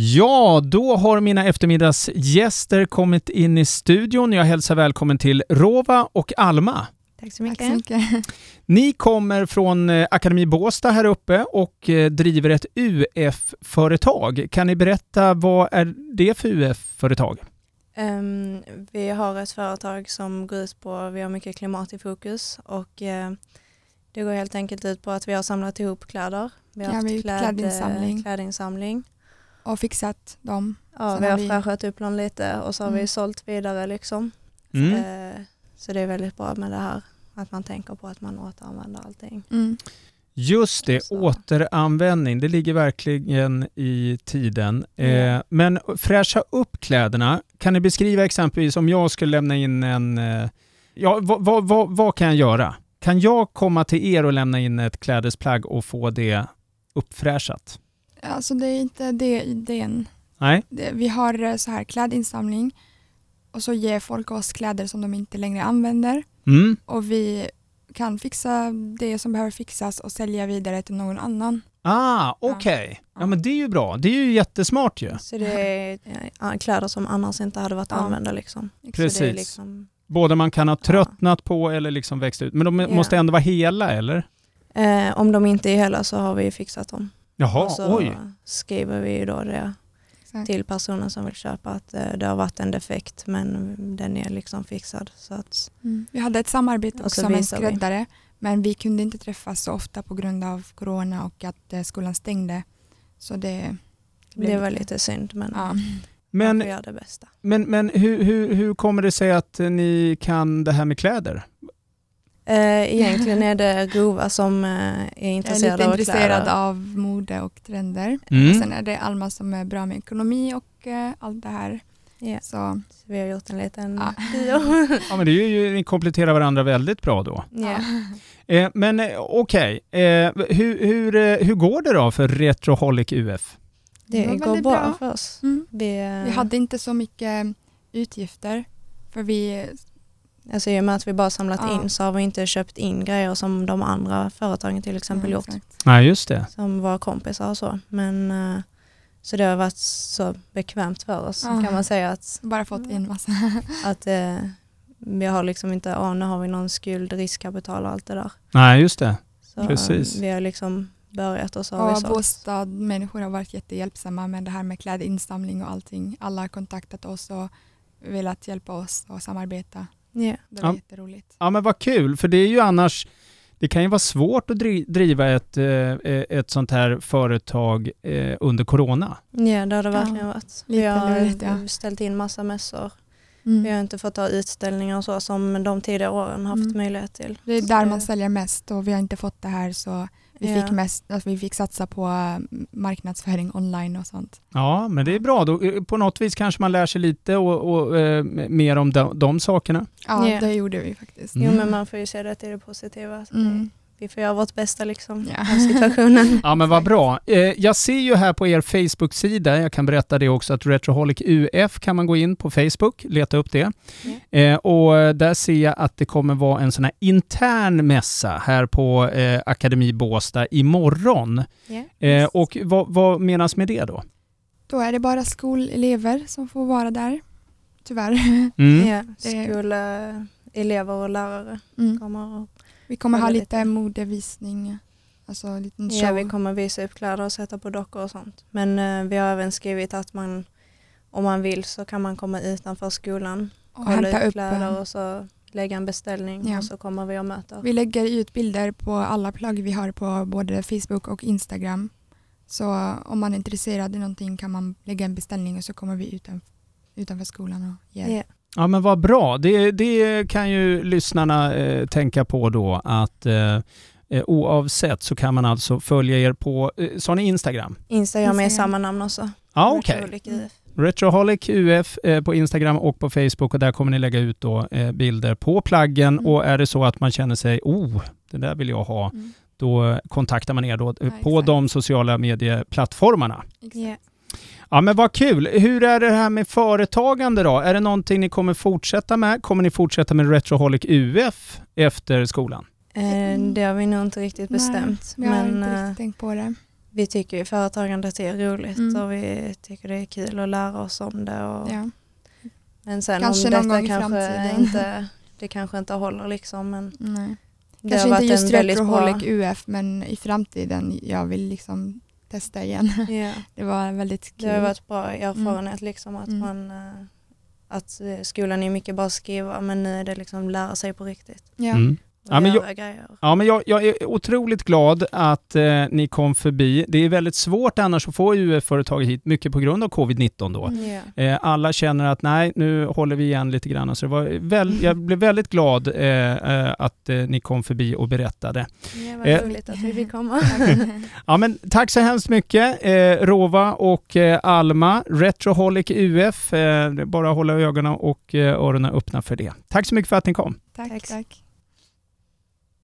Ja, då har mina eftermiddagsgäster kommit in i studion. Jag hälsar välkommen till Rova och Alma. Tack så mycket. Tack så mycket. Ni kommer från eh, Akademi Båstad här uppe och eh, driver ett UF-företag. Kan ni berätta vad är det för UF-företag? Ehm, vi har ett företag som går ut på, vi har mycket klimat i fokus och eh, det går helt enkelt ut på att vi har samlat ihop kläder. Vi har eh, Ja, vi har gjort klädinsamling. klädinsamling. Och fixat dem. Ja, Sen vi har har vi- fräschat upp dem lite och så har vi Mm. sålt vidare liksom. Mm. Eh, så det är väldigt bra med det här att man tänker på att man återanvänder allting. Mm. Just det, Så. återanvändning. Det ligger verkligen i tiden. Eh, Ja. men fräscha upp kläderna. Kan ni beskriva exempelvis om jag skulle lämna in en... Eh, ja, vad, vad, vad, vad kan jag göra? Kan jag komma till er och lämna in ett klädesplagg och få det uppfräschat? Alltså det är inte det idén. Nej? Det, vi har eh, så här klädinsamling och så ger folk oss kläder som de inte längre använder Mm. och vi kan fixa det som behöver fixas och sälja vidare till någon annan. Ah, okej. Ja, men det är ju bra. Det är ju jättesmart ju. Så det är eh, kläder som annars inte hade varit Ja. använda liksom. Så det är Precis. liksom Både man kan ha Ja. tröttnat på eller liksom växt ut. Men de Ja. måste ändå vara hela, eller? Eh, om de inte är hela så har vi fixat dem. Jaha, och så oj. skriver vi ju då det Exakt. till personen som vill köpa att eh, det har varit en defekt men den är liksom fixad. Så att, Mm. Vi hade ett samarbete Och så också med en visar vi. skräddare men vi kunde inte träffas så ofta på grund av corona och att eh, skolan stängde. Så det, blev det var lite synd men Ja. Men man får göra det bästa. Men, men hur, hur, hur kommer det sig att ni kan det här med kläder? Eh, egentligen är det Grova som eh, är Jag är lite intresserad av intresserad kläder. av mode och trender. Mm. Mm. Sen är det Alma som är bra med ekonomi och eh, allt det här. Ja. Så, Så vi har gjort en liten Ja. bio. Ja, men det är ju, ni kompletterar varandra väldigt bra då. Ja. Eh, men eh, okej, eh, hur, hur, eh, hur går det då för Retroholic UF? Det, Det var går väldigt bra, bra. för oss. mm. Vi, eh, Vi hade inte så mycket utgifter för vi, alltså, I och med att vi bara samlat Ja. in så har vi inte köpt in grejer som de andra företagen till exempel gjort. eh, Exakt. Nej, just det. som var kompisar och så. Men, eh, så det har varit så bekvämt för oss Ja. kan man säga att, bara fått in massa. att eh, vi har liksom inte, ja nu har vi någon skuld, riskkapital och allt det där. Nej, just det. Så eh, Precis. vi har liksom börjat och så har vi Och sålt. Båstad, människor har varit jättehjälpsamma med det här med klädinsamling och allting. Alla har kontaktat oss och velat hjälpa oss och samarbeta. Ja. Det var Ja. jätteroligt. Ja, men vad kul, för det är ju annars det kan ju vara svårt att dri- driva ett, eh, eh, ett sånt här företag eh, under corona. ja, det har det verkligen varit. Vi Lite har lurigt, ja. ställt in massa mässor. Vi Mm. har inte fått ha utställningar och så som de tidigare åren haft Mm. möjlighet till. Det är där man säljer mest och vi har inte fått det här så vi, Ja. fick, mest, att vi fick satsa på eh, marknadsföring online och sånt. Ja, men det är bra. Då, eh, på något vis kanske man lär sig lite och, och, eh, mer om de, de sakerna. Ja, Ja. det gjorde vi faktiskt. Mm. Jo men man får ju se det till det positiva. Så Mm. Vi får göra vårt bästa liksom Ja. av situationen. Ja men vad bra. Eh, jag ser ju här på er Facebook-sida, jag kan berätta det också, att Retroholic UF kan man gå in på Facebook, leta upp det. Eh, och eh, där ser jag att det kommer vara en sån här intern mässa här på eh, Akademi Båstad imorgon. Ja. Eh, och vad, vad menas med det då? Då är det bara skolelever som får vara där, tyvärr. Mm. Ja, Det- skola, elever och lärare Mm. kommer och Vi kommer ha Eller lite lite. modevisning, alltså en liten show. ja, vi kommer visa upp kläder och sätta på dockor och sånt. Men eh, vi har även skrivit att man om man vill så kan man komma utanför skolan, och hämta kolla upp eh, ut kläder dem. och så lägga en beställning Ja. och så kommer vi och möter. Vi lägger ut bilder på alla plagg vi har på både Facebook och Instagram. Så om man är intresserad i någonting kan man lägga en beställning och så kommer vi utan, utanför skolan och ger. Ja. Ja men vad bra, det, det kan ju lyssnarna eh, tänka på då att eh, eh, oavsett så kan man alltså följa er på, eh, sa ni Instagram? Instagram är Instagram. Mm. samma namn också. Ja Ah, okej. Retroholic IF. Retroholic UF eh, på Instagram och på Facebook och där kommer ni lägga ut då, eh, bilder på plaggen Mm. och är det så att man känner sig oh, det där vill jag ha, Mm. då eh, kontaktar man er då, eh, Ja, på exakt. de sociala medieplattformarna. Exakt. Ja. Ja men vad kul! Hur är det här med företagande då? Är det någonting ni kommer fortsätta med? Kommer ni fortsätta med Retroholic UF efter skolan? Eh, Det har vi nog inte riktigt Mm. Nej, bestämt. Jag har men inte eh, riktigt tänkt på det. vi tycker ju företagandet är roligt Mm. och vi tycker det är kul att lära oss om det. Och, Ja. Men sen Kanske om någon detta gång i kanske framtiden. inte, det kanske inte håller liksom. Men Nej. det Kanske har inte varit just en väldigt bra... Retroholic UF men i framtiden jag vill liksom testa igen. Ja, Det var väldigt det kul. har varit bra erfarenhet liksom att Mm. man eh, att eh, skolan är mycket bara skriva men nu är det liksom lära sig på riktigt. ja. Mm. Och Ja, men göra grejer. Ja, men jag, jag är otroligt glad att eh, ni kom förbi. Det är väldigt svårt annars att få UF-företag hit, mycket på grund av covid-19 då. Mm. Ja. Eh, alla känner att nej, nu håller vi igen lite grann. Så det var väl, jag blev väldigt glad eh, eh, att eh, ni kom förbi och berättade. Ja, Eh. vad roligt att vi fick komma. Ja, men tack så hemskt mycket eh, Rova och eh, Alma, Retroholic UF. Eh, det är bara att hålla ögonen och eh, öronen öppna för det. Tack så mycket för att ni kom. tack, Tack. tack.